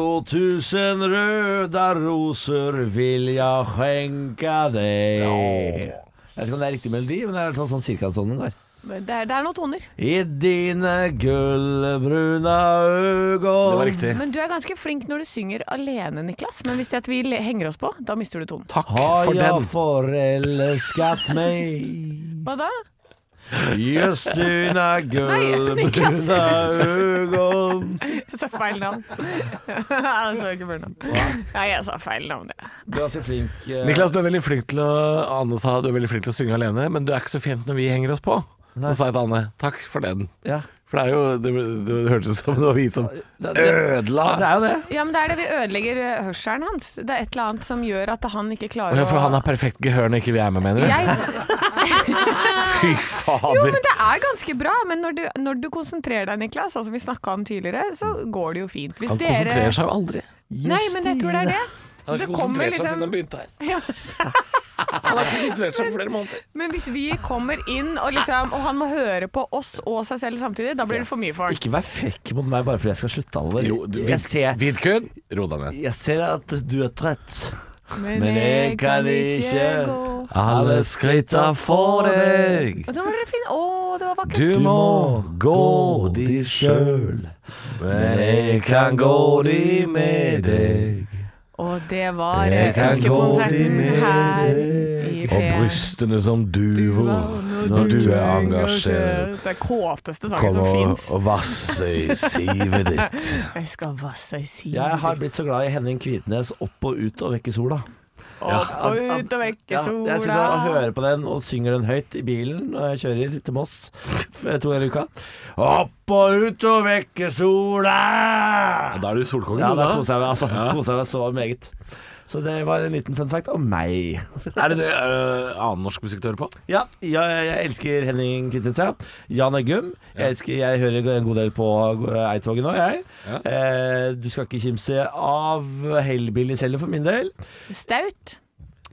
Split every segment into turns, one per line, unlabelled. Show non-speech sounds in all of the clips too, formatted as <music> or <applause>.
Tiotusen røda roser vil jeg skjenke deg. Jeg vet ikke om det er riktig melodi, men det er i hvert fall sånn cirka sånn den går.
Men Det er, det er noen toner.
I dine gullbruna
Det var
øgon
riktig.
Men du er ganske flink når du synger alene, Niklas. Men hvis det er at vi le- henger oss på, da mister du tonen.
Takk
har
for
jeg
den.
forelsket meg.
Hva da?
Just dine
Niklas.
gullbruna øgon
Jeg sa feil
<laughs>
navn. jeg så ikke Bjørnar. Nei, jeg sa feil navn, jeg.
Du er ganske flink. eh.
Niklas, du er veldig flink til å Anne sa du er veldig flink til å synge alene, men du er ikke så fint når vi henger oss på.
Nei.
Så sa jeg til Anne takk for den.
Ja.
For det er jo Det, det hørtes ut som det var vi som
Det, det,
ødela.
det er jo det.
Ja, men det er det vi ødelegger eh, hørselen hans. Det er et eller annet som gjør at han ikke
Å
klarer
ja, For han har perfekt gehør når ikke vi er med, mener du? <laughs>
jeg,
Fy
Jo, men
fader.
det er ganske bra. Men når du, når du konsentrerer deg, Niklas, sånn som vi snakka om tidligere, så går det jo fint. Hvis
Han konsentrerer
dere
seg jo aldri.
Nei, men jeg tror det er det.
Han har
Det
ikke
kommer
konsentrert seg siden
liksom
han begynte her. <laughs> Han har ikke konsentrert seg på flere måneder.
Men hvis vi kommer inn, og, liksom, og han må høre på oss og seg selv samtidig, da blir det for mye for han.
Ikke vær frekk mot meg bare fordi jeg skal slutte, Alvar.
Jo, du,
Jeg ser-
Vidkun, ro deg ned.
Jeg ser at du er trøtt. Men jeg kan ikke
gå.
Alle skritta for deg,
Og da var dere fine. Å, det var vakkert.
du må gå de sjøl. Men jeg kan gå de med deg.
Og det var
Jeg kan gå de
ønskekonserten
med
her i
Og
P1.
brystene som duver når du er engasjert.
Det er kåteste sangen
Kom
som
og,
fins.
<laughs> og vass i sivet ditt.
Jeg skal vasse i siden.
Jeg har blitt så glad i Henning Kvitnes opp og ut og vekk i sola.
Opp og ut og vekk i
Ja, jeg sitter og
sola.
hører på den og synger den høyt i bilen når jeg kjører til Moss f- to ganger i uka. Opp og ut og vekk i sola!
Da er du solkongen,
Ja, da
du,
koser jeg meg, altså. Koser jeg meg så meget. Så det var en liten fun fact om meg.
da. Er det det eh, annen norsk musikk du hører på?
Ja, jeg, jeg elsker Henning Kvitnes, ja. Jan Eggum. Jeg, elsker, jeg hører en god del på eh, Eidtoget nå, jeg.
Ja.
Eh, du skal ikke kimse av Hellbillies heller, for min del.
Staut.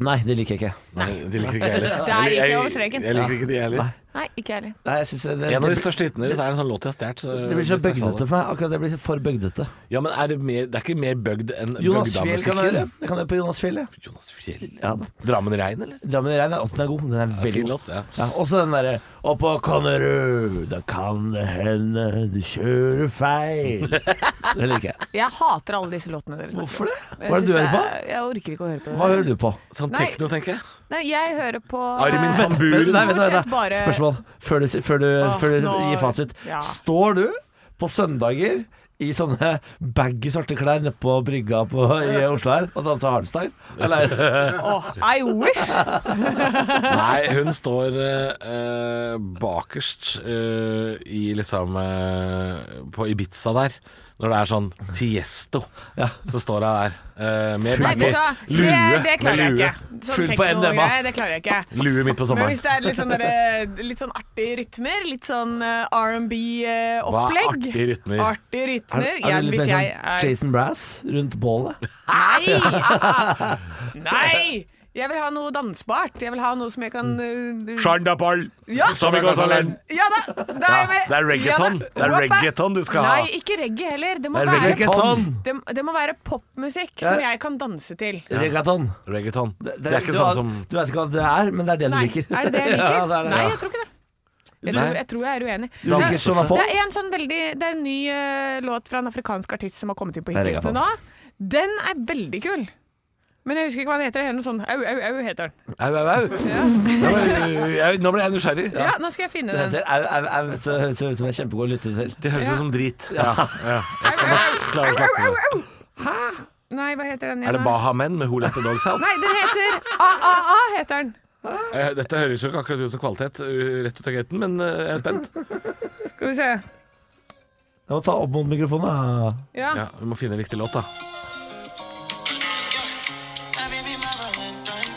Nei, det liker jeg ikke.
Nei, de liker ikke jeg heller.
<laughs> Det er ikke
Jeg-
over streken.
Jeg liker ikke de heller.
Nei, ikke jeg heller.
Nei, jeg synes det, det,
En av de
det,
største hitene deres er en sånn låt jeg har stjålet. så-
det blir så
hvis jeg sa
bøgdete
det.
for meg. Akkurat Det blir for bøgdete.
Ja, men er det, mer, det er ikke mer bøgd enn
Jonas Fjell kan jeg gjøre.
bøgdamusikken?
Jeg kan gjøre på Jonas Fjell, ja.
Jonas Fjell.
ja. da.
Drammen Rein, eller?
Drammen Rein er, å, den er god. Den er
Veldig
veldig
fin
god.
låt. Ja.
Ja, også den derre Og på Konnerud, da kan det hende du kjører <laughs> feil. Det liker jeg.
Jeg hater alle disse låtene dere snakker om.
Hvorfor det? Hva er det
Jeg
du
synes
hører på?
er- Jeg orker ikke å høre på det.
Hva hører du på?
Sånn
Nei.
tekno, tenker jeg.
Nei, jeg hører på
Armin
eh,
van Buren.
Nei, vent, vent,
Stort sett
vent.
bare-
Spørsmål før du, før du,
Åh,
før du
nå-
gir fasit.
ja.
Står du på søndager i sånne baggy svarte klær nede på brygga på, i Oslo her og danser hardstyle? Eller
Åh, I
<laughs>
wish!
Nei, hun står eh, eh, bakerst eh, i liksom eh, På Ibiza der. Når det er sånn Tiesto,
Ja.
så står hun der eh, med
Nei, vet du hva? Det, det
med
klarer jeg
lue.
ikke. Sånn
Full på MDMA.
teknogreier, det klarer jeg ikke.
Lue midt på
Men
sommeren.
hvis det er litt sånn, derre- litt sånn artige rytmer, litt sånn
Hva er
R&B-opplegg
artige rytmer?
eh, Artige rytmer.
er,
ja,
er du litt
hvis
mer
jeg
sånn
er
Jason Brass rundt bålet?
<laughs>
Nei! Nei! Jeg vil ha noe dansbart. Jeg vil ha noe som jeg kan eh,
Shandapal!
Ja.
sånn
Samikosalan!
Ja da! da er jeg med.
det er reggaeton.
Ja da.
Det er
Wappa.
reggaeton du skal ha.
Nei, ikke reggae heller. Det må,
Det er
være,
reggaeton.
det, det må være popmusikk som jeg kan danse til.
Reggaeton.
Reggaeton. Det,
Det
er
du,
ikke sånn
har-
som
Du vet ikke hva det er, men det er det du
Nei,
liker.
er det det jeg liker?
<laughs> ja, det er det.
Nei,
Ja.
jeg tror ikke det.
Nei.
Jeg tror, jeg, tror jeg er uenig.
Du liker
Det er-
Shona Paul?
Det er en sånn veldig Det er en ny eh, låt fra en afrikansk artist som har kommet inn på
Det er
hitlistene nå.
reggaeton.
Den er veldig kul. Men jeg husker ikke hva den heter. Det er noe sånn au, au, au heter den.
Au, au, au. Nå ble jeg- Nå ble jeg nysgjerrig.
Ja, nå skal jeg finne
Det er-
den.
er- er- er- så- Høres ut som jeg er kjempegod å lytte til.
Det høres
Ja.
ut som drit. Ja. Ja. Jeg skal nok klare å snakke med det.
Nei, hva heter
Er
den igjen?
det
da?
Baha Men med Who Let The Dogs Out?
<laughs> Nei, den heter AAA, heter den.
Eh, Dette høres jo ikke akkurat ut som kvalitet, uh, rett ut av gaten, men eh, jeg er spent.
Skal vi se.
Jeg må ta opp mot mikrofonen. da.
Ja.
Ja, vi må finne riktig låt, da.
Now, baby, my Valentine.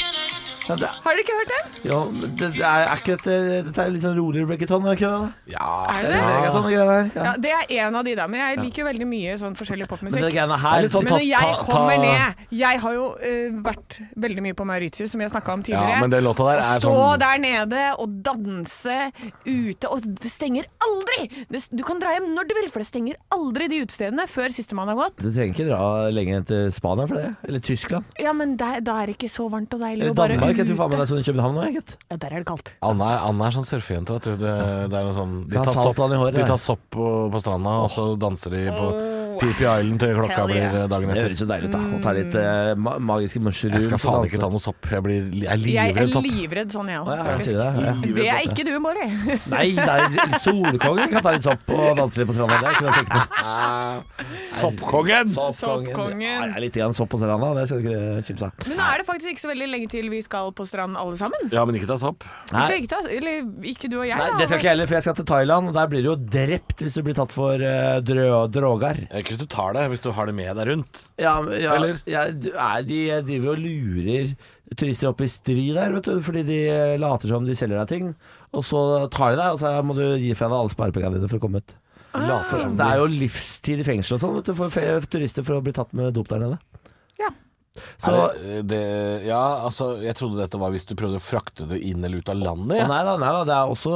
Can I hit the
Ja, det,
Har dere ikke hørt den?
jo, men det, det er, er ikke dette Dette er litt sånn roligere reggaeton, er det ikke det? da?
Ja,
Er
Det
sånn det det?
er reggaeton og greier der.
Ja,
Ja.
det er en av de der, men jeg liker jo veldig mye sånn forskjellig popmusikk.
Men det greiene
Det er
her
litt sånn
Men når
Ta-
jeg
ta-
kommer
ta-
ned Jeg har jo eh, vært veldig mye på Mauritius, som jeg snakka om tidligere.
Ja, men den låta der
Å
er
stå
sånn-
der nede og danse ute, og det stenger aldri! Det, du kan dra hjem når du vil, for det stenger aldri de utestedene før sistemann har gått.
Du trenger ikke dra lenger enn til Spania for det. Eller Tyskland.
Ja, men der, da er det ikke så varmt og deilig
Eller
å bare
Danmark. Jeg tror
ute.
faen meg det er sånn i København nå, jeg, gitt.
Ja, der er det kaldt.
Anna er, Anna er sånn surfejente, vet du. Det, det er noe sånn De
Ta
tar sopp,
saltvann i håret,
de
da.
tar sopp på, på stranda, og så danser de på Peepy Island til klokka
Hell yeah.
blir eh, dagen
Det
etter.
høres jo deilig ut, da. Å ta
Mm.
litt eh, ma magiske mushrooms.
Jeg skal faen ikke
og
ta
danse.
noe sopp. Jeg, blir, jeg er
Jeg er
livredd sopp.
livredd sånn, jeg
Å,
òg,
ja, jeg
faktisk.
sier det. Ja.
Det er ikke du,
<laughs>
Bård.
Nei, nei, solkongen kan ta litt sopp og danse litt på stranda. Det kunne jeg tenkt meg.
Ah.
Soppkongen!
<laughs> Soppkongen.
Ja, det er litt grann sopp på stranda, det skal du ikke kimse av.
<laughs> Men nå er det faktisk ikke så veldig lenge til vi skal på strand alle sammen.
Ja, men ikke ta sopp.
Vi skal ikke ta, eller ikke du og jeg,
Nei,
da.
det skal
men-
ikke jeg heller, for jeg skal til Thailand. Og der blir du jo drept hvis du blir tatt for eh, drø droger.
Eh, Ikke hvis du tar det, hvis du har det med deg rundt.
Ja, ja,
Eller?
ja du, nei, de driver og lurer turister opp i stry der, vet du, fordi de eh, later som de selger deg ting. Og så tar de deg, og så må du gi fra deg alle sparepengene dine for å komme ut.
Ah.
Later som
Det er jo livstid i fengsel og sånn vet du, for fe- turister for å bli tatt med dop der nede.
Ja.
Så
er det, eh, det, ja, altså, jeg trodde dette var hvis du prøvde å frakte det inn eller ut av landet.
Å,
Ja.
Nei da, nei da. Det er også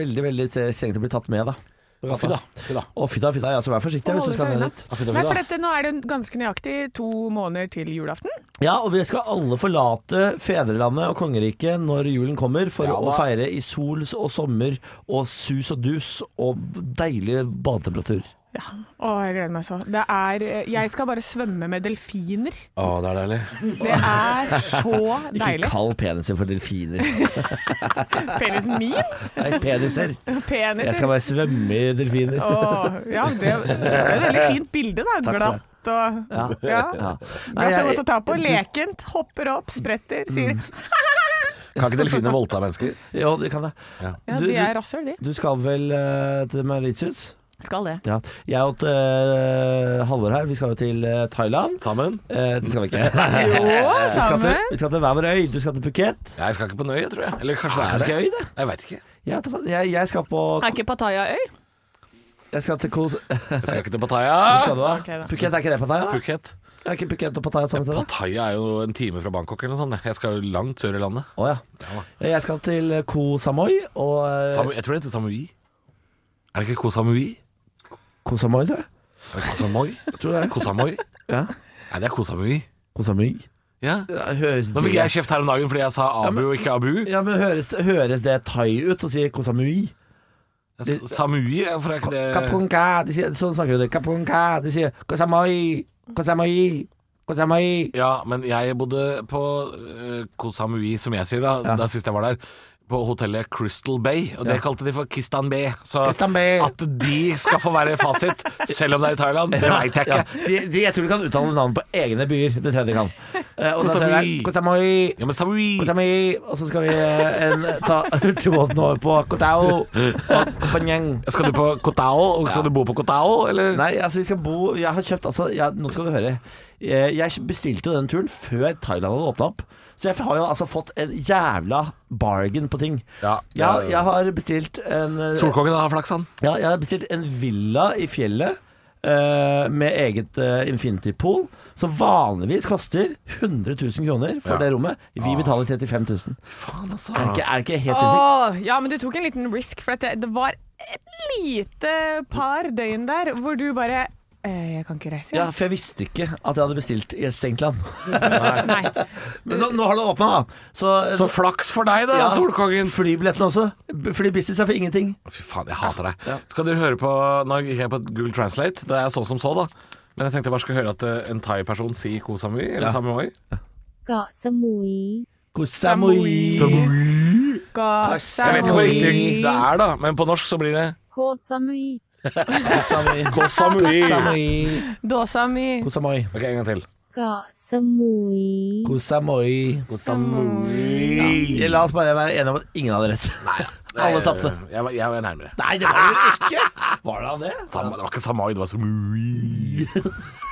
veldig, veldig strengt å bli tatt med, da.
Ja, Fy da. Fy da.
Å, fy da, fy da. Ja, så vær forsiktig
Og
hvis du
holde
skal
seg
ned
unna.
dit.
Ja, fy da,
Nei,
fy
for
da.
dette, nå er det ganske nøyaktig to måneder til julaften.
Ja, og vi skal alle forlate fedrelandet og kongeriket når julen kommer, for
Ja,
å
da.
feire i sol og sommer og sus og dus og deilig badetemperatur.
Ja. Å, jeg gleder meg så. Det er eh, Jeg skal bare svømme med delfiner.
Å, det er deilig.
Det er
<laughs>
så
Ikke
deilig.
kall peniser for delfiner.
Penisen min?
Nei, peniser. Jeg skal
Peniser?
bare svømme i delfiner.
Å, ja, det, det er et veldig fint bilde, da.
for det.
Glatt og
Ja.
ja.
Ja. Nei,
Glatt og godt å ta på.
du- Mm.
Lekent. Hopper opp, spretter, sier
Kan ikke delfiner voldta mennesker?
Jo, det kan jeg.
Ja.
Ja,
Du-
de
du-
er rasshøl, de.
Du skal vel eh, til Mauritius?
Skal det.
Ja. Jeg og eh, Halvor her, vi skal jo til eh, Thailand.
Sammen?
Eh, det skal <laughs> vi ikke.
Jo,
Vi skal, til,
sammen.
vi skal til hver vår øy. Du skal til Phuket.
Jeg skal ikke på Nøye, tror jeg. Eller kanskje
Er det
det er det.
gøy, det?
Jeg veit ikke.
Jeg, vet da faen. jeg, jeg skal på
Er ikke Pattaya-øy?
Jeg skal til Kos... Hvor
Jeg skal ikke til Pattaya.
skal du da?
Ok, da.
Phuket er ikke det Pattaya? da?
Phuket.
Er ikke Phuket og Pattaya samme sted? da?
Pattaya er jo en time fra Bangkok eller noe sånt. Jeg skal jo langt sør i landet.
Å ja. Eh, Jeg skal til Koh Samoi og eh,
Samu, jeg tror det heter Samui. Er det ikke Koh Samui?
Koh Samoi, tror jeg.
Er det Koh Samoi?
Tror du det?
Koh Samoi?
Ja.
Nei, det er Koh Samui.
Koh Samui?
Ja.
Ja, Høres
Nå fikk
det,
jeg kjeft her om dagen fordi jeg sa Abu og ikke Abu.
ja, men høres, det- høres det thai ut å si Koh Samui?
S- Samui, for er ikke det
Kapunka, de sier, sånn snakker de. Kapunka, de sier Koh Samoi, Koh Samoi, Koh Samoi.
Ja, men jeg bodde på eh, Koh Samui, som jeg sier da,
Ja.
da sist jeg var der. På hotellet Crystal Bay, og det
Ja.
kalte de for Kistan Bay. Så
Kistan Bay.
at de skal få være fasit, selv om det er i Thailand, det veit jeg ikke.
Ja, de, de, jeg tror de kan uttale navn på egne byer. Det tror jeg de
<laughs>
kan. Eh, og da
Koh
tror jeg
Samui.
Koh Samui,
Ja, men Samui
Koh Samui. Og så skal vi eh, en, ta hurtigbåten over på Koh Tao og Koh Phangan.
Skal du på Kotao, og skal du bo på Kotao, eller?
Nei, altså vi skal bo Jeg har kjøpt, altså jeg, Nå skal du høre Eh, Jeg bestilte jo den turen før Thailand hadde åpnet opp Så jeg har jo altså fått en jævla bargain på ting
Ja,
jeg, har- jeg har bestilt en eh,
Solkongen har flaks, han.
ja, Jeg har bestilt en villa i fjellet eh, Med eget eh, infinity pool Som vanligvis koster 100 000 kroner for
Ja.
det rommet Vi betaler 35 000
Faen, altså.
Er det ikke, er det ikke helt sinnssykt?
Åh, ja, men du tok en liten risk, for at det, det var et lite par døgn der hvor du bare eh, Jeg kan ikke reise.
Ja,
igjen».
for jeg visste ikke at jeg hadde bestilt i et stengt
<laughs>
land
Nei.
Men nå, nå har det åpnet da Så, eh,
Så flaks for deg, da,
Ja.
Solkongen.
Flybillettene også. B- Flybusiness er for ingenting.
Å, Fy faen, jeg hater deg. Skal dere høre på Nå gikk jeg på Google Translate. Det er så som så, da. Men jeg tenkte jeg bare skal høre at eh, en thai-person sier Koh Samui, eller Samui.
เกาะสมุย
Koh Samui.
Samui. Ga-
Jeg
Jeg vet ikke hvor
Samui.
riktig det er, da, men på norsk så blir det
โคสมุย
Koh
<laughs>
Samui.
Koh Samui.
<laughs> Koh Samui.
Dåsami.
Koh Samui.
Ok, en gang til.
เกาะสมุย
Koh Samui.
Koh Samui.
La oss bare være enige om at ingen hadde rett. Alle tapte.
Eh, Jeg, var- jeg var nærmere.
<laughs> Nei, det var det ikke. Var det han det? <laughs>
Sam, det var ikke Samai, det var Samui.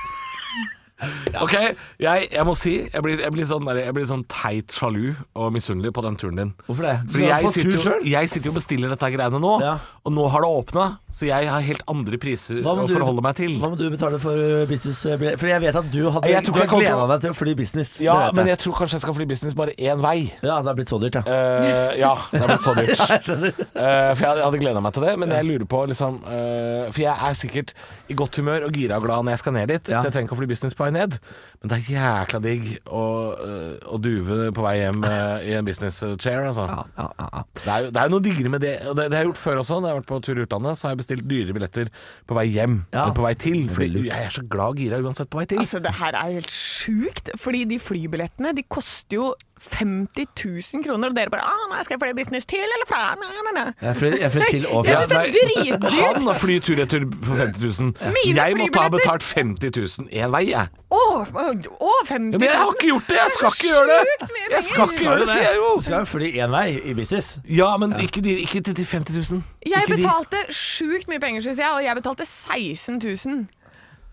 Ok, jeg, jeg må si Jeg blir, jeg blir, sånn, der- jeg blir sånn teit sjalu og misunnelig på den turen din.
Hvorfor det? Du
Fordi
er på tur
jeg sitter, jo,
selv?
jeg sitter jo og bestiller dette greiene nå,
Ja.
og nå har det åpna. Så jeg har helt andre priser
Hva må
å
du-
forholde meg til.
Hva må du betale for business? eh, billett? Fordi jeg vet at du hadde
Jeg
Du
tror ikke jeg
har
kommer
gleda
til å-
deg til å fly business.
Ja,
det vet
men
jeg.
jeg tror kanskje jeg skal fly business bare én vei.
ja, det har blitt så dyrt, ja.
Eh, <laughs> ja, det er blitt så dyrt.
Jeg skjønner.
Eh, for jeg hadde gleda meg til det, men jeg lurer på liksom eh, For jeg er sikkert i godt humør og gira og glad når jeg skal ned dit,
Ja.
så jeg trenger ikke å fly business på vei ned. Men det er jækla digg å, eh, å duve på vei hjem eh, i en business chair, altså.
Ja, ja, ja, ja.
Det er, jo, det er jo noe diggere med det. Og det, det har jeg gjort før også. Når jeg har vært på tur i utlandet, så har jeg bestilt dyrere billetter på vei hjem
Ja.
enn på vei til.
veldig
Fordi
lurt.
jeg er så glad og gira uansett på vei til.
Altså, det her er jo helt sjukt, fordi de flybillettene de koster jo 50 000 kroner, og dere bare ah, nei, 'Skal jeg fly business til, eller fra?' Nei, nei, nei.
Jeg flyr, jeg flyr til og
Jeg
fra.
synes det er dritdyrt!
Han har fly tur-retur for 50 000.
Mine
Jeg måtte ha
flybilletter.
betalt 50 000 én vei, jeg.
Å, å,
Ja,
50 000!
men jeg har ikke gjort det! Jeg skal ikke gjøre det!
Sjukt mye
Jeg skal ikke
penger.
gjøre det, sier jeg jo!
Du skal jo fly én vei i business.
Ja, men ikke, de, ikke til de 50 000.
Jeg
Ikke de.
betalte sjukt mye penger, syns jeg, og jeg betalte 16 000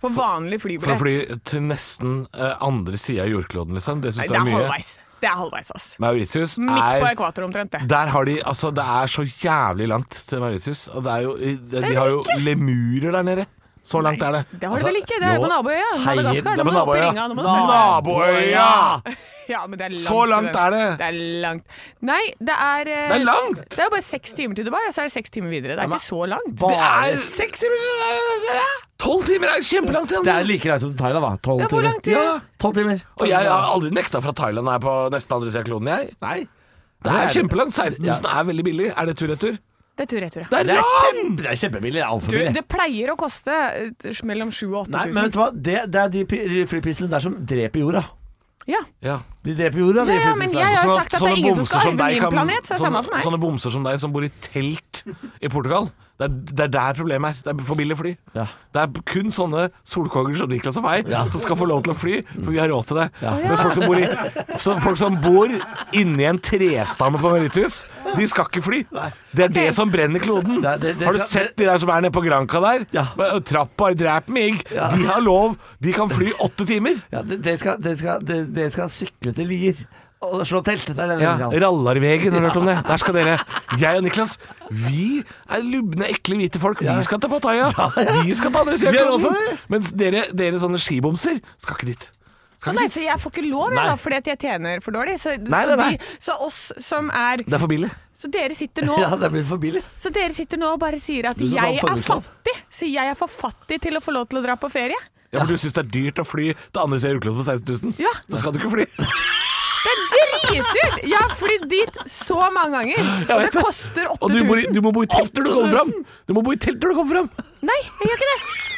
for vanlig
For å
flybillett.
fly til nesten eh, andre sida av jordkloden, liksom. Det
Nei,
syns du
det
er
er
mye.
halvveis. Det er halvveis, ass.
Mauritius
Midt på
er
ekvator omtrent, det.
Der har de Altså, det er så jævlig langt til Mauritius. Og det er jo De, de har jo lemurer der nede. Så langt er det.
Det har du
Altså,
vel ikke? Det er
jo,
på naboøya.
hei,
Madagaskar.
det
er
Nå
på
må du opp i
naboøya.
ringa, nå må du-
Naboøya!
Ja, men det er langt.
Så langt er det.
Det er langt. Nei, det er eh,
Det er langt!
Det er jo bare seks timer til Dubai, og så er det seks timer videre. Det er ikke så langt.
Bare
Det er-
seks timer!
Tolv timer er kjempelangt igjen!
Det er like langt som Thailand, da. Tolv
Ja, hvor
timer.
lang tid?
Ja, tolv timer.
Og jeg har aldri nekta for at Thailand er på nesten andre sida av kloden, jeg.
Nei.
Det er kjempelangt. 16
Ja.
000 er veldig billig. Er det tur-retur?
Det er tur-retur, ja.
Det er
Det er,
langt!
kjempe, det er kjempebillig. Det er altfor
Du,
billig.
det pleier å koste eh, mellom 7000 og
Nei, men
8000.
vet du hva? Det, det er de pri- flyprisene der som dreper jorda.
Ja.
Ja.
De dreper jorda, de
Ja, ja, men
flyprisene.
jeg har
Sånne-
sagt at det
sånne
er ingen som
bomser
skal arve
deg
min
kan-
planet, så det er samme
sånne-
for meg.
Sånne bomser som deg som bor i telt i Portugal. Det er, det er der problemet er. Det er for billig fly.
Ja.
Det er kun sånne solkonger som Niklas og meg som skal få lov til å fly, for vi har råd til det. Men folk som bor, i, så folk som bor inni en trestamme på Mauritius, de skal ikke fly. Det er det som brenner kloden.
Nei, det- det
har du
skal-
sett de der som er nede på Granca der?
Ja.
Med Trappa drep mig. De har lov. De kan fly åtte timer.
Ja, de- Dere skal, dere skal, dere- dere skal sykle til Lier og slå telt. Det er det
Ja,
dere skal.
Rallarvegen, har du hørt om det? Der skal dere. Jeg og Niklas, vi er lubne, ekle, hvite folk. Vi skal til Pattaya. Vi skal til andre siden
Vi har
av
råd til
kloden. Mens dere, dere sånne skibomser skal ikke dit.
Å
Skal
nei,
ikke dit.
så jeg får ikke lov, jeg, da, fordi at jeg tjener for dårlig. Så,
Nei,
så,
nei, nei.
De, så oss som er
Det er for billig.
Så dere sitter
<laughs>
nå,
Ja, det blir for billig.
så dere sitter nå og bare sier at
Du skal ta
jeg er
formuesskatt.
fattig. Så jeg er for fattig til å få lov til å dra på ferie.
Ja, for du syns det er dyrt å fly til andre siden av jordkloden for 16 000?
Ja.
Da skal du ikke fly.
Det er dritdyrt! Jeg har flydd dit så mange ganger, og det koster
Og du, bor i,
8000.
du må bo i telt når du kommer fram! Du må bo i telt når du kommer fram!
Nei, jeg gjør ikke det.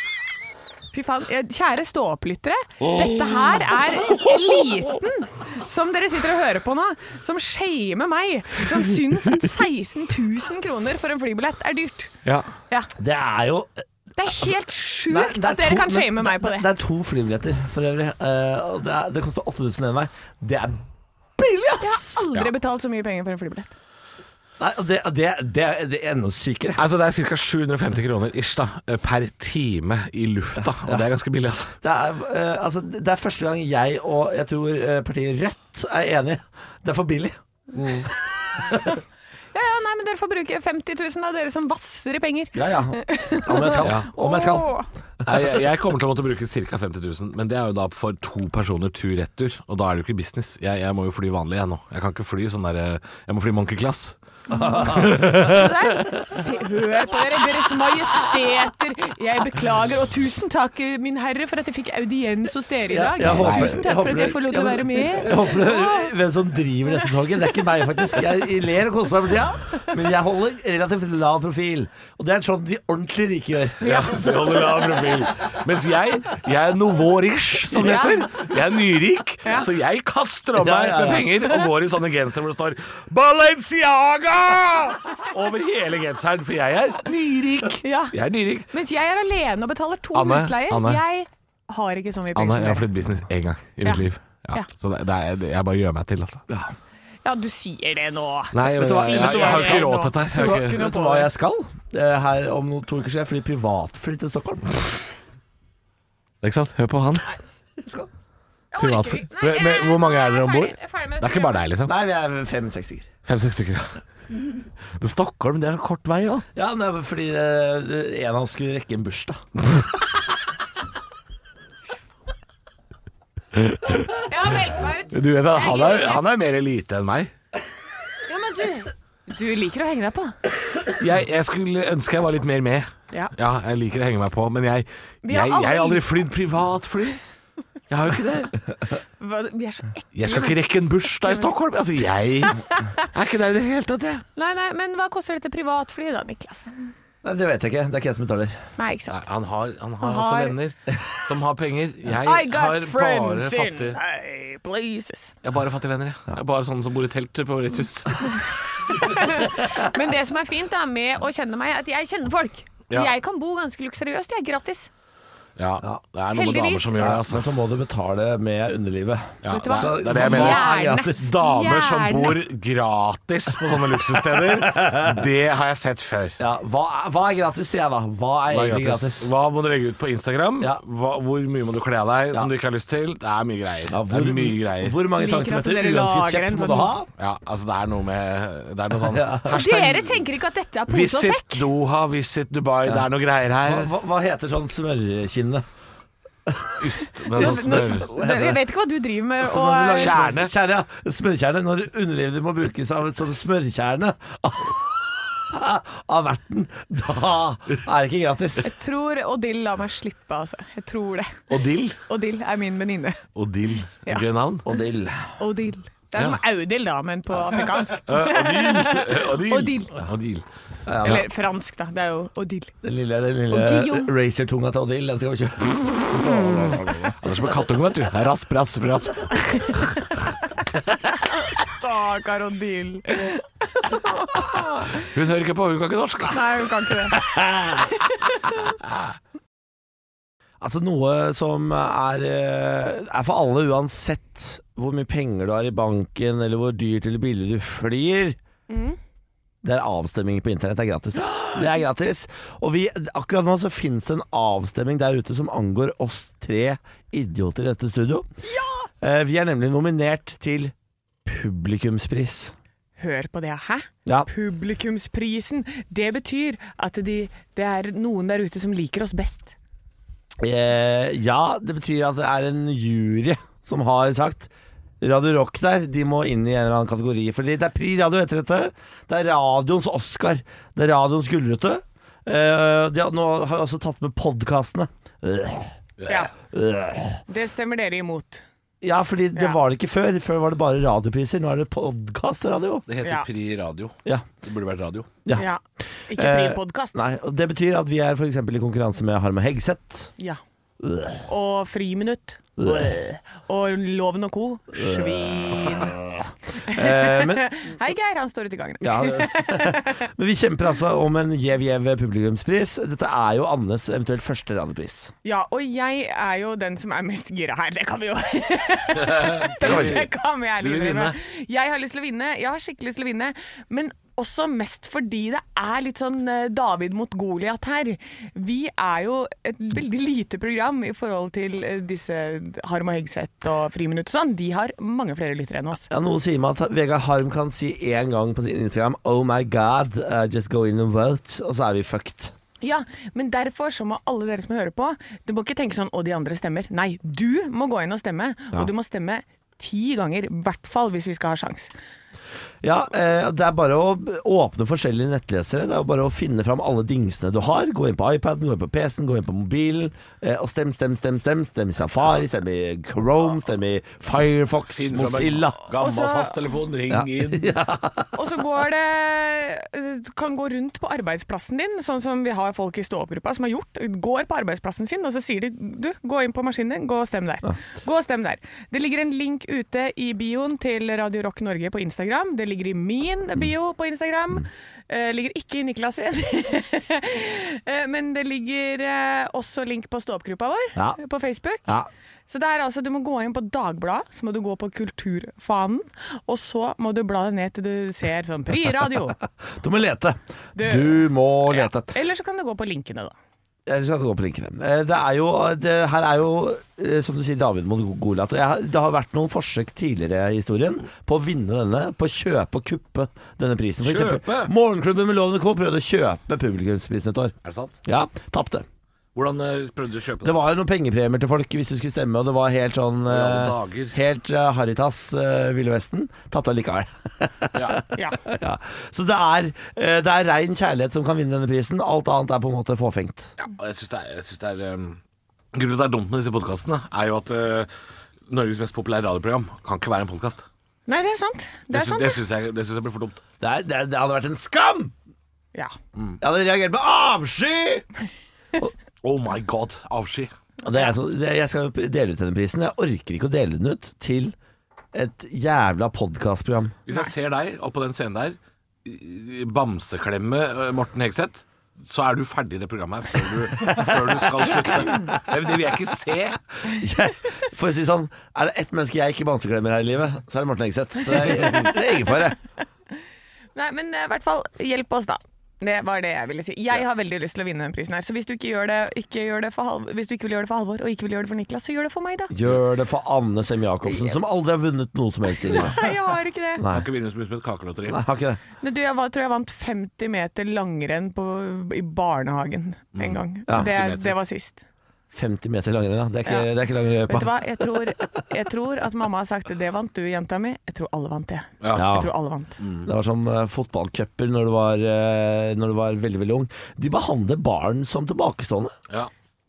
Fy faen. eh, Kjære stå-opp-lyttere. Dette her er eliten som dere sitter og hører på nå, som shamer meg, som syns at 16 000 kroner for en flybillett er dyrt.
Ja.
Ja.
Det er jo
Det er helt
Altså, Nei,
sjukt
det er
at
to-
dere kan
men
shame meg på det.
Det er to flybilletter for øvrig. Eh, og det, er, det koster 8000 én vei. Det er billig, ass!
Aldri betalt så mye penger for en flybillett.
Nei, og det, det, det, det er enda sykere.
Altså, det er ca. 750 kroner ish da, eh, per time i lufta, og det er ganske billig, altså.
Det er, eh, altså, det er første gang jeg og jeg tror eh, partiet Rødt er enige. Det er for billig.
Ja, ja, nei, men dere får bruke 50 000 av dere som vasser i penger.
Ja, ja. Om jeg skal.
Ja.
Om jeg skal.
Åh.
Nei, jeg, jeg kommer til å måtte bruke ca. 50 000, men det er jo da for to personer tur-retur. Og da er det jo ikke business. Jeg, jeg må jo fly vanlig, jeg nå. Jeg kan ikke fly sånn der eh, Jeg må fly monkey class.
Der. Se, hør på dere, Deres Majesteter. Jeg beklager, og tusen takk, min herre, for at jeg fikk audiens hos dere i dag.
Jeg håper-
tusen takk for at jeg får lov til å være med.
Jeg håper du hører hvem som driver dette toget. Det er ikke meg, faktisk. Jeg ler og koser meg på sida, men jeg holder relativt lav profil. Og det er sånn de ordentlig rike gjør.
Ja, det holder lav profil. Mens jeg, jeg er nouveau-riche, som det
Ja.
heter. Jeg er nyrik, så jeg kaster om
Ja,
meg
ja, ja.
med penger og går i sånne gensere hvor det står 'Balenciaga!' over hele genseren, for jeg er nyrik.
Ja.
Jeg er nyrik.
Mens jeg er alene og betaler to
Anne,
husleier.
Anne.
Jeg har ikke så mye penger
Anne, jeg har
som dere.
flyttet business én gang i
Ja.
mitt liv. Ja.
Ja.
Så det, det er, jeg bare gjør meg til, altså.
Ja, du sier det nå.
Nei, jeg,
Vet du hva-
jeg,
vet du hva-
har ikke råd til dette. her.
Vet
Jeg
du
har
hva-
ikke-
vet du hva jeg skal? Eh, Her om noen to uker skal jeg fly privatfly til Stockholm.
Ikke sant? Hør på han.
skal.
Jeg orker
Privatfly.
ikke.
Men-
jeg-
men hvor mange er dere
jeg
om bord?
ferdig- jeg ferdig med
Det er ikke bare deg, liksom?
Nei, vi er fem-seks stykker.
Fem-seks stykker, ja. Det er Stockholm, det er så kort vei, da.
Ja, men det er fordi eh, det- en av oss skulle rekke en bursdag.
Ja, meld meg ut.
Du vet at han er, han er mer elite enn meg.
Ja, men du Du liker å henge deg på.
Jeg, jeg skulle ønske jeg var litt mer med.
Ja.
Ja, jeg liker å henge meg på, men jeg,
Vi har
jeg, jeg har
alle-
aldri flydd privatfly. Jeg har jo ikke det.
Hva- Vi er så ekle.
Jeg skal ikke rekke en bursdag i Stockholm. Altså, jeg er ikke der i det hele tatt, jeg.
Nei, nei, men hva koster dette privatflyet da, Niklas?
Nei, Det vet jeg ikke. Det er ikke jeg som betaler.
Nei, ikke
Nei,
sant.
han har, han har
Han
også
har-
venner som har
<laughs>
penger. Jeg
I
har
got
bare
friends in
fattige
high places.
Jeg har bare fattige venner, jeg. jeg er bare sånne som bor i telt på Mauritius.
Men det som er fint da, med å kjenne meg, er at jeg kjenner folk.
Ja.
Jeg kan bo ganske luksuriøst, jeg er gratis.
<laughs> Ja, det er noen med
Heldigvis.
damer som gjør det, altså.
Men så må du betale med underlivet.
Ja,
Vet du hva?
det er- det er det jeg mener.
Gjerne.
Gratis.
Damer som
Gjerne.
bor gratis på sånne <laughs> luksussteder, det har jeg sett før.
Ja, hva, er- hva er gratis, sier jeg da? Hva er
Hva er
egentlig gratis?
gratis? Hva må du legge ut på Instagram?
Ja.
Hva, hvor mye må du kle av deg som du ikke har lyst til? Det er mye greier.
Ja,
det er mye greier.
Hvor mange
Liker at
centimeter
dere
uansett
lager
kjekk
en
må
sånn-
du ha?
Ja, altså det er noe med Det er noe <laughs> sånn
Ja.
Dere tenker ikke at dette er pose og
Visit
sekk?
Doha, visit Dubai, det er noe greier
Hva,
her.
hva, hva heter sånn smørkinne?
Yst. Det er sånn smør.
Jeg vet ikke hva du driver med.
Altså,
Sånn når du lager
Og, eh,
smør-
Kjerne.
Kjerne, ja. Smørkjerne. Når underlivet ditt må brukes av et sånt smørkjerne <laughs> av verten, da er det ikke gratis.
jeg tror Odil lar meg slippe, altså. Jeg tror det.
Odil.
Odil er min venninne.
Odil.
Ja.
Gøy navn.
Odil.
Odil. Det er
Ja.
som Audil, da, men på afrikansk.
Eh, Odil.
Odil.
Odil.
Eller fransk, da. Det er jo Odil.
Den lille, den lille
Odil.
racertunga til Odil, den skal vi kjøpe.
Det er som en kattunge, vet du. Rasp, rasp, rasp.
Stakkar Odil.
Hun hører ikke på, hun kan ikke norsk.
Nei, hun kan ikke det.
Altså noe som er, eh, er for alle uansett hvor mye penger du har i banken, eller hvor dyrt eller billig du flyr. Det er avstemning på internett. Det er gratis. Det, det er gratis. Og vi, akkurat nå så finnes det en avstemning der ute som angår oss tre idioter i dette studio. Eh, Vi er nemlig nominert til publikumspris.
Hør på det, hæ?
Ja.
Publikumsprisen. Det betyr at de, det er noen der ute som liker oss best.
Eh, ja, det betyr at det er en jury som har sagt Radio Rock der, de må inn i en eller annen kategori. Fordi det er Pri Radio etter dette. Det er radioens Oscar. Det er radioens Gullrute. Eh, de har, nå har jeg også tatt med podkastene.
Ja. Det stemmer dere imot.
Ja, fordi det
Ja.
var det ikke før. Før var det bare radiopriser. Nå er det podkast og radio.
Det
heter Ja.
Pri radio.
Ja.
Det burde vært radio.
Ja.
Ja. Ikke
Eh,
Pripodkast.
Nei, og det betyr at vi er f.eks. i konkurranse med Harm og Hegseth.
Ja. Og Friminutt. Og Loven og co. Svin.
Eh, men,
Hei, Geir. Han står ute i gangen.
Ja, men vi kjemper altså om en gjev-gjev publikumspris. Dette er jo Annes eventuelt første radiopris.
Ja, og jeg er jo den som er mest gira her. Det kan vi jo
vi si.
Det Eh, kan vi
Du
ærlig
vil
innrømme.
vinne.
Jeg har lyst til å vinne. Jeg har skikkelig lyst til å vinne. Men også mest fordi det er litt sånn eh, David mot Goliat her. Vi er jo et veldig lite program i forhold til eh, disse Harm og Hegseth og Friminutt og sånn. De har mange flere lyttere enn oss.
Ja, Noe sier meg at Vegard Harm kan si én gang på sin Instagram Oh my god, uh, just go in and vote, og så er vi fucked.
Ja, men derfor så må alle dere som hører på, du må ikke tenke sånn å de andre stemmer. Nei, du må gå inn og stemme, og du må stemme ti ganger, i hvert fall hvis vi skal ha sjans.
Ja, eh, Det er bare å åpne forskjellige nettlesere. Det er jo bare å finne fram alle dingsene du har. Gå inn på iPaden, gå inn på PC-en, gå inn på mobilen. Eh, og stem, stem, stem, stem. Stem i Safari, stem i Chrome, stem i Firefox, Mozilla.
Gammel
Også-
fasttelefon, ring <laughs> inn.
Og så går det eh, kan gå rundt på arbeidsplassen din, sånn som vi har folk i stå-opp-gruppa som har gjort. Går på arbeidsplassen sin, og så sier de du, gå inn på maskinen din, gå og stem der. Gå og stem der. Det ligger en link ute i bioen til Radio Rock Norge på Instagram. Det ligger i min
Mm.
bio på Instagram. Eh, ligger ikke i Niklas sin. <laughs> Eh, Men det ligger eh, også link på stå-opp-gruppa vår
Ja.
på Facebook.
Ja.
Så det er altså, du må gå inn på Dagbladet, så må du gå på Kulturfanen, og så må du bla deg ned til du ser
<laughs>
sånn Pri radio.
Du må lete.
Du-
Du må lete.
Eller så kan du gå på linkene, da.
Jeg skal gå på linkene. Eh, Det er jo, det, her er jo, eh, som du sier, David mot Goliat. Og jeg, har- det har vært noen forsøk tidligere i historien på å vinne denne, på å kjøpe og kuppe denne prisen. For
Kjøpe?
Morgenklubben med Lovende Co prøvde å kjøpe publikumsprisen et år.
Er det sant?
Ja, tapte.
Hvordan eh, prøvde du å kjøpe
Det
det?
var jo noen pengepremier til folk hvis du skulle stemme, og det var helt sånn
alle
eh,
dager.
Helt eh, Haritas eh, Ville Vesten. Tapte allikevel. <laughs>
Ja.
Ja.
ja. Så det er, eh, det er rein kjærlighet som kan vinne denne prisen. Alt annet er på en måte fåfengt.
Ja, og jeg syns det er, jeg synes det er um, Grunnen til at det er dumt med disse podkastene, er jo at uh, Norges mest populære radioprogram kan ikke være en podkast.
Nei, det er sant. Det
Det,
er
sy-
sant.
det
det.
syns jeg, det synes jeg blir for dumt.
Det, er, det, er- det hadde vært en skam!
Ja.
Jeg hadde reagert med avsky!
Oh my god, avsky.
Og det er så, det, jeg skal jo dele ut denne prisen. Jeg orker ikke å dele den ut til et jævla podkastprogram.
Hvis jeg ser deg oppå den scenen der, i- i bamseklemme eh, Morten Hegseth, så er du ferdig i det programmet her før du, <laughs> før du skal slutte. Det, det vil jeg ikke se.
<laughs> Jeg- For å si det sånn, er det ett menneske jeg ikke bamseklemmer her i livet, så er det Morten Hegseth. Så det er, det er ingen fare.
Nei, men eh, i hvert fall, hjelp oss da. Det var det jeg ville si. Jeg har veldig lyst til å vinne den prisen her, så hvis du ikke, gjør det, ikke, gjør det for Halv- hvis du ikke vil gjøre det for Halvor, og ikke vil gjøre det for Niklas, så gjør det for meg, da. <laughs>
Gjør det for Anne Sem Jacobsen, som aldri har vunnet noe som helst i livet.
Nei, jeg har ikke det.
Nei.
Jeg kan ikke vinne så mye som et kakelotteri.
Nei, har ikke det.
Men du, jeg var, tror jeg vant 50 meter langrenn på, i barnehagen en gang.
Ja.
det,
50 Mm. meter.
det var sist.
50 meter langrenn, ja. Det er ikke,
Ja.
det er ikke lang
Vet du
løypa.
hva, jeg tror, jeg tror at mamma har sagt det vant du, jenta mi. Jeg tror alle vant det.
Ja.
Jeg tror alle vant.
Det var som eh, fotballcuper når, du var, eh, når du var veldig, veldig ung. De behandler barn som tilbakestående.
Ja.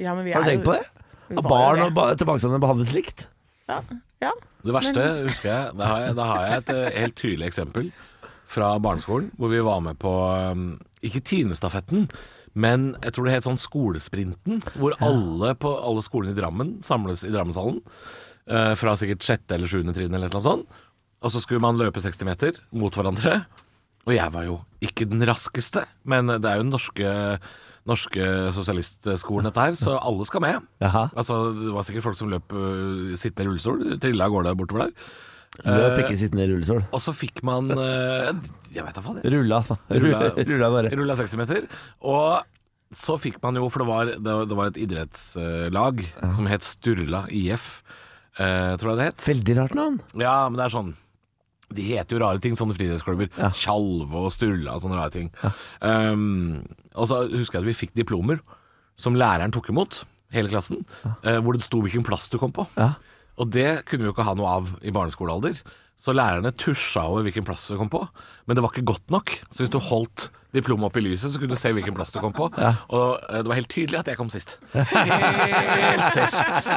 Ja, men vi
Har du
er jo-
tenkt på det?
vi
At
var jo
barn
det.
og ba tilbakestående behandles likt?
Ja. ja.
Det verste husker jeg Da har jeg, da har jeg et eh, helt tydelig eksempel fra barneskolen, hvor vi var med på um, ikke Tinestafetten, men jeg tror det het sånn Skolesprinten, hvor alle på alle skolene i Drammen samles i Drammenshallen. eh, fra sikkert sjette eller sjuende trinn eller noe sånt. Og så skulle man løpe 60 meter mot hverandre. Og jeg var jo ikke den raskeste, men det er jo den norske, norske sosialistskolen dette her, så alle skal med.
Jaha.
Altså, det var sikkert folk som løp øh, sittende i rullestol, trilla av gårde bortover der.
Løp ikke sittende i rullestol.
Og så fikk man øh, Jeg vet da faen. jeg.
<laughs> Rulla, da. Rulla, rulla bare.
Rulla 60 meter. Og så fikk man jo, for det var, det, det var et idrettslag som het Sturla IF, eh, tror jeg det het.
Veldig rart navn.
Ja, men det er sånn De heter jo rare ting, sånne friidrettsklubber. Tjalve og Sturla og sånne rare ting. Um, og så husker jeg at vi fikk diplomer som læreren tok imot, hele klassen, eh, hvor det sto hvilken plass du kom på.
Ja.
Og det kunne vi jo ikke ha noe av i barneskolealder. Så lærerne tusja over hvilken plass du kom på, men det var ikke godt nok. Så hvis du holdt diplomet opp i lyset, så kunne du se hvilken plass du kom på. Og eh, det var helt tydelig at jeg kom sist. Helt sist.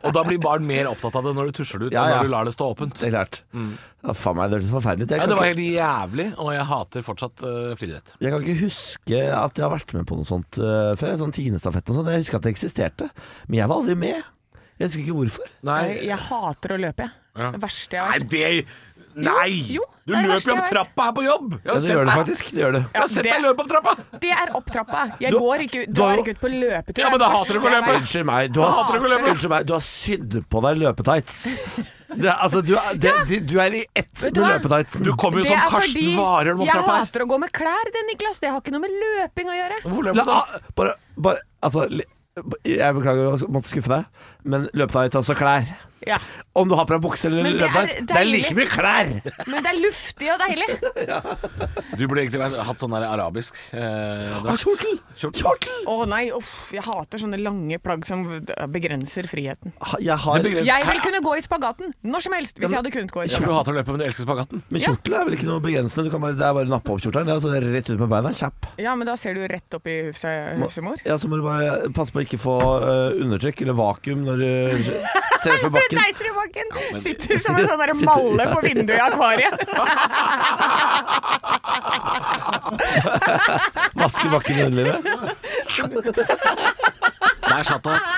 Og da blir barn mer opptatt av det når du tusjer det ut,
Ja,
og
ja.
når du lar det stå åpent.
Det er klart.
Mm.
Ja, faen meg, det hørtes forferdelig ut. Jeg
Ja,
kan,
det var
ikke,
helt jævlig, og jeg hater fortsatt uh, friidrett.
jeg kan ikke huske at jeg har vært med på noe sånt eh, før. Sånn Tinestafett og sånn. Jeg husker at det eksisterte, men jeg var aldri med. Jeg husker ikke hvorfor.
Jeg, jeg hater å løpe, jeg. Det verste jeg har
Nei,
vært.
det Nei!
jo,
Du
det er det verste
løper jo opp
jeg vet.
trappa her på jobb! Jeg
Ja,
har
det
sett
gjør det
deg.
faktisk. Det gjør det.
Jeg har sett
det-
deg løpe opp trappa!
Det er opp trappa. Jeg
Du-
går ikke, ut-
du har
drar
jo-
ikke ut på løpetur.
Ja, men
Det er
da hater du
første
ikke å
jeg
løpe.
vet.
Unnskyld meg, du har,
Hater du ikke å løpe?
unnskyld meg, du har sydd på deg løpetights. Det, er- altså, du, er- det, det, du er i ett
Vet
med
du hva?
løpetightsen.
Du kommer jo
Det
som
er
Karsten
fordi
Warholm opp
jeg
trappa her.
hater å gå med klær, det, Niklas. Det har ikke noe med løping å gjøre.
Hvorfor
La, ah,
løper du sånn?
bare, bare, altså, li- jeg beklager å måtte skuffe deg, men løpetights, altså klær.
Ja.
Om du har på deg bukse eller
Men det er
løpetights, det er
deilig.
like mye klær!
Men det er luftig og deilig.
Du burde egentlig vært- hatt sånn der arabisk eh,
Ah,
drakt.
Kjortel! Kjortel!
Å nei, uff. Jeg hater sånne lange plagg som begrenser friheten.
Ha- Jeg har
Det begrenser-
Jeg vil kunne gå i spagaten når som helst, hvis jeg hadde kunnet gå i
Ja,
spagaten.
for du hater å løpe, men du elsker spagaten.
Men kjortel er vel ikke noe begrensende? Du kan bare, det er bare å nappe opp kjortelen, det er altså rett ut med beina. Kjapp.
Ja, men da ser du rett opp i hufse- hufsemor.
Ja, så må du bare passe på å ikke få øh, undertrykk eller vakuum når du
<laughs>
treffer
Du
bakken.
deiser i bakken! Sitter som en sånn der malle på vinduet i akvariet.
Vaske bakken i underlivet.
Nei, slapp av.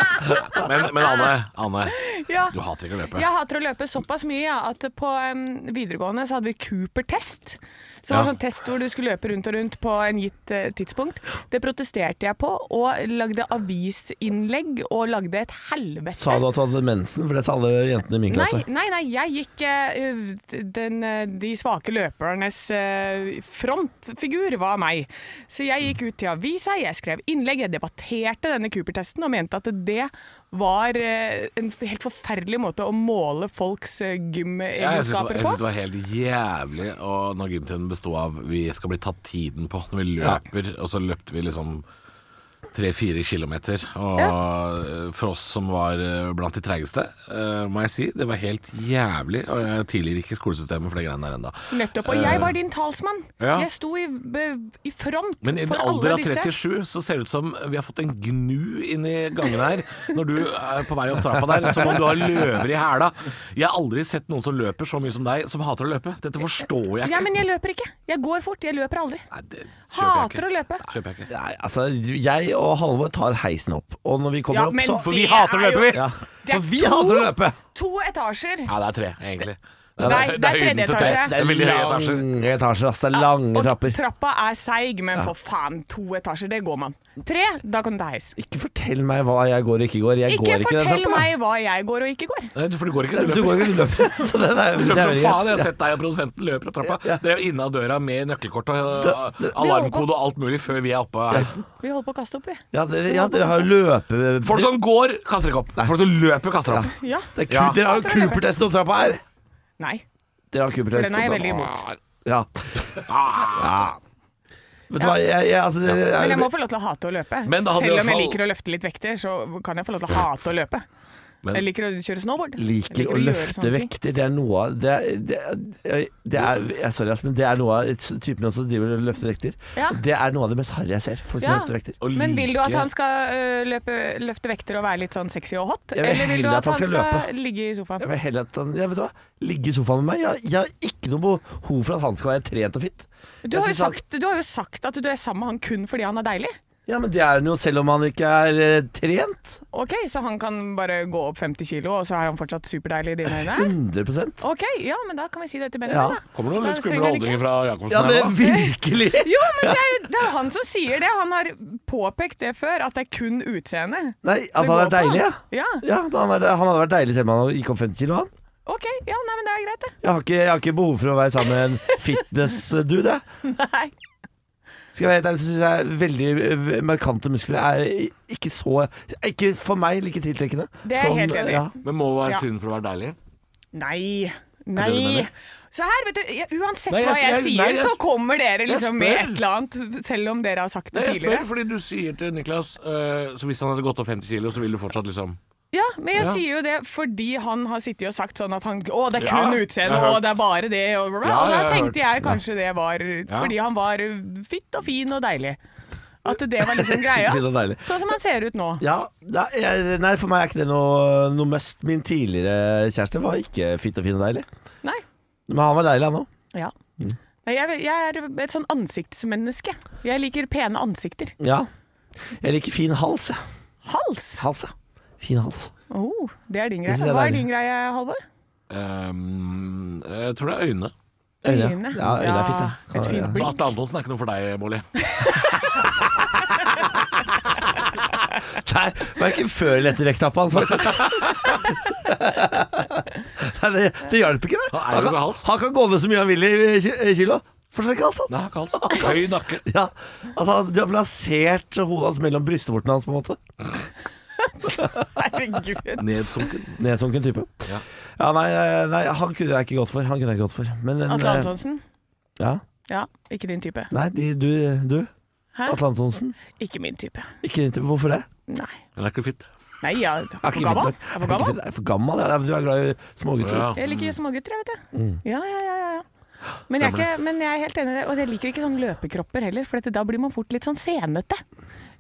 Men, men Anne, Anne
Ja.
Du hater ikke å løpe.
Jeg hater å løpe såpass mye ja, at på em, videregående så hadde vi Cooper-test.
Ja.
Som var sånn test hvor du skulle løpe rundt og rundt på en gitt eh, tidspunkt. Det protesterte jeg på, og lagde avisinnlegg og lagde et helvete.
Sa du at du hadde mensen? For det sa alle jentene i min
Nei,
klasse.
nei, nei, jeg gikk eh, den, eh, de svake løpernes eh, frontfigur var meg. Så jeg gikk ut til avisa, jeg skrev innlegg, jeg debatterte denne Cooper-testen og mente at det var eh, en helt forferdelig måte å måle folks eh,
Ja, jeg syns
gymegenskaper
det
på.
var helt jævlig Og når gymtimen bestod av vi skal bli tatt tiden på når vi løper, og så løpte vi liksom tre-fire kilometer. Og eh, for oss som var eh, blant de treigeste, eh, må jeg si, det var helt jævlig. Og jeg tilgir ikke skolesystemet for de greiene der ennå.
Nettopp. Og jeg var din talsmann.
Eh. Ja.
Jeg sto i, i front
Men i en
for
alder
alle
av
disse.
37 så ser det ut som vi har fått en gnu inn i gangen her. Når du er på vei opp trappa der, som om du har løver i hæla. Jeg har aldri sett noen som løper så mye som deg, som hater å løpe. Dette forstår jeg
Ja,
ikke.
men jeg løper ikke. Jeg går fort. Jeg løper aldri.
Nei, det kjøper jeg
Hater
ikke.
å løpe.
Kjøper jeg ikke.
Nei, altså, jeg og Halvor tar heisen opp, og når vi kommer
Ja,
opp,
men
så
sånn,
For vi det hater å løpe, er jo- vi.
Ja.
Det er
For vi
to-
hater å løpe!
To etasjer.
Ja, det er tre, egentlig.
Nei, det er
høyden
tredje
til tre.
etasje.
Det er veldig høye etasjer.
lange etasjer, ass. Det er lange
og
trapper.
Trappa er seig, men for faen, to etasjer, det går man. Tre, da kan du ta heis.
Ikke fortell meg hva jeg går og ikke går. Jeg
Ikke
går ikke den
fortell
trappa.
meg hva jeg går og ikke går.
Nei, du- for du går ikke, du
Du
løper.
går ikke du løper. <laughs> Så det, er- det
Du løper
er
som
veldig greit.
faen. Jeg har sett deg og produsenten løper opp trappa. Dere er jo inne av døra med nøkkelkort og uh, alarmkode og alt mulig før vi er oppe av heisen.
Vi holder på å kaste opp, vi.
Ja, dere, ja, dere har jo løpe...
Folk som går, kaster ikke opp. Folk som løper, kaster opp.
Ja.
det er ku,
Ja.
Dere har jo
Hater å løpe.
Cooper-testen opp trappa her!
Nei.
Dere har Cooper-testen
Den er jeg
opp
veldig
trappa.
imot.
Ja.
Ah.
Vet du hva, jeg, jeg altså, dere,
Men jeg
jeg,
må få lov til å hate å løpe.
Men da hadde du i
Selv
hvert
om jeg
fall-
liker å løfte litt vekter, så kan jeg få lov til å hate å løpe.
Men-
Jeg liker å kjøre snowboard. Jeg
liker å
gjøre
løfte
sånne ting.
vekter. Det er noe av det, er- det, er- det er jeg, Sorry, ass, men det er noe av typen også som driver og løfter vekter.
Ja.
Det er noe av det mest harry jeg ser. Folk som
Ja.
løfter vekter.
Å
Men vil du
like-
at han skal øh, løpe, løfte vekter og være litt sånn sexy og hot?
Jeg vil
Eller vil du
heller
at han skal, ligge i
Jeg
sofaen?
vil heller at han jeg vet du hva, ligge i sofaen med meg. Jeg, jeg har ikke noe behov for at han skal være trent og fit.
Du
Jeg
har, jo
synes han-
sagt, du har jo sagt at du er sammen med han kun fordi han er deilig.
Ja, men det er han jo selv om han ikke er eh, trent.
Ok, så han kan bare gå opp 50 kilo, og så er han fortsatt superdeilig i dine
<laughs>
øyne?
100
Ok, ja, men da kan vi si det til
Ja.
Benjamin, da.
Kommer det noen litt
Da
skumle
trenger jeg
holdninger
ikke-
fra Jacobsen
Ja,
her
det
nå?
virkelig!
<laughs> Jo, men det er jo det er jo han som sier det. Han har påpekt det før, at det er kun utseendet.
Nei,
Det
at han
går
er
på
deilig, ja.
Ja,
ja da han, er, han hadde vært deilig selv om han gikk opp 50 kilo, han.
ok, ja, nei, men det er
<laughs>
greit det.
Jeg har ikke, jeg har ikke behov for å være sammen med en fitness-dude, jeg.
Nei.
Skal jeg være helt ærlig, så syns jeg veldig eh, markante muskler er ikke så Ikke for meg like tiltrekkende.
Det er jeg helt enig i.
ja.
Men må være
Ja.
tynn for å være deilig? det
Nei.
det du
Nei.
mener?
Så her, vet du, ja, uansett
Nei, jeg-
hva jeg,
jeg-
sier,
nei, jeg-
så kommer dere liksom med
spør.
et eller annet, selv om dere har sagt det
jeg spør
tidligere.
fordi du sier til Niklas eh, Så hvis han hadde gått opp 50 kilo, så ville du fortsatt liksom
Ja, men jeg
Ja.
sier jo det fordi han har sittet og sagt sånn at han Å, det er
Ja,
kun
jeg har
utseende,
hørt.
og det er bare det, og bla, bla.
Ja,
Og da
jeg har hørt.
tenkte jeg kanskje det var fordi han var fitt og fin og deilig. At det var
<laughs>
liksom greia.
Fint og deilig.
Sånn som han ser ut nå.
Ja, nei, jeg, nei, for meg er ikke det noe, noe must. Min tidligere kjæreste var ikke fitt og fin og deilig.
Nei.
Men han var deilig, han òg.
Ja.
Mm.
Nei, jeg, jeg er et sånn ansiktsmenneske. Jeg liker pene ansikter.
Ja. Jeg liker fin hals, jeg.
Hals!
Hals, ja. Fin hals.
Oh, det er din
Det synes
greie.
jeg er
Hva er
deilig.
din greie, Halvor?
ehm, Jeg tror det er øyne.
Øyne.
Øyne.
Ja, øyne er fint, ja.
Ja, et fint
Så
blikk.
Atle Antonsen er ikke noe for deg, Molly.
Nei, verken før eller etter vekttappa hans, faktisk. Nei, det, det hjalp ikke, det.
Han er jo
Han
så
kan,
hals.
han kan gå ned så mye han vil i ki- i kilo. Forstår ikke altså.
Nei, ikke altså. <laughs> Høy nakke.
Ja, at han, Du har plassert hodet hans mellom brystvortene hans, på en måte.
Herregud.
Nedsunken.
Nedsunken type.
Ja.
Ja, nei, nei, han kunne jeg ikke gått for. Han kunne jeg ikke gått for. Men en,
Atle
eh,
Antonsen?
Ja,
Ja, ikke din type.
nei, de, du, du
Hæ?
Atle Antonsen.
Ikke min type.
Ikke, hvorfor det?
Nei.
Den er ikke fitt.
Nei, jeg er
Er
for
ikke
gammel.
fint nok.
Jeg er for
Er ikke
gammel.
fint- er For gammel, ja. Du er glad i smågutter.
Ja.
Jeg liker smågutter, jeg, vet du.
Mm.
Ja, ja, ja, ja, ja. Men jeg, er
Stemmer
ikke, men jeg er helt enig i det. Og jeg liker ikke sånn løpekropper heller, for dette, da blir man fort litt sånn senete.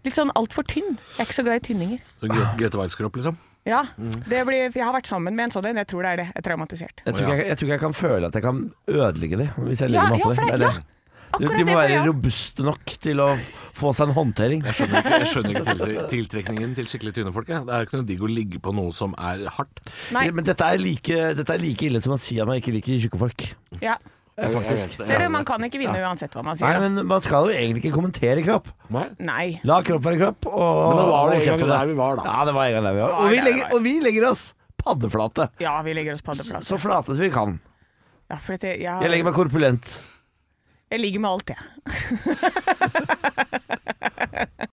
Litt sånn altfor tynn. Jeg er ikke så glad i tynninger.
Så Grete, Grete Waitz-kropp, liksom.
Ja,
Mm.
det blir, jeg har vært sammen med en sånn en, jeg tror det er det. Jeg er traumatisert.
Jeg tror, ikke jeg, jeg tror ikke jeg kan føle at jeg kan ødelegge dem hvis jeg
Ja,
legger meg
ja,
oppå
for
det. Det
det-
er
ja.
det. De,
Akkurat
de må
det får
være
jeg.
robuste nok til å få seg en håndtering.
Jeg skjønner ikke, jeg skjønner ikke tiltre tiltrekningen til skikkelig tynne folk. Jeg. Det er ikke noe digg å ligge på noe som er hardt.
Nei.
Men dette er, like, dette er like ille som å si at man ikke liker tjukke folk.
Ja.
Faktisk.
Ser du, man kan ikke vinne uansett hva man
Nei,
sier. da.
men man skal jo egentlig ikke kommentere kropp.
Nei.
Nei.
La kropp være kropp. Og,
Men nå var det
og
en gang
kjeft om
der vi var, da.
Ja, det var en gang der vi var.
Nei,
Og vi
nei,
legger,
nei.
og vi legger oss paddeflate.
Ja, vi legger oss på andreplass.
Så flate som vi kan.
Ja, for dette, jeg,
Jeg legger meg korpulent.
jeg ligger med alt, jeg.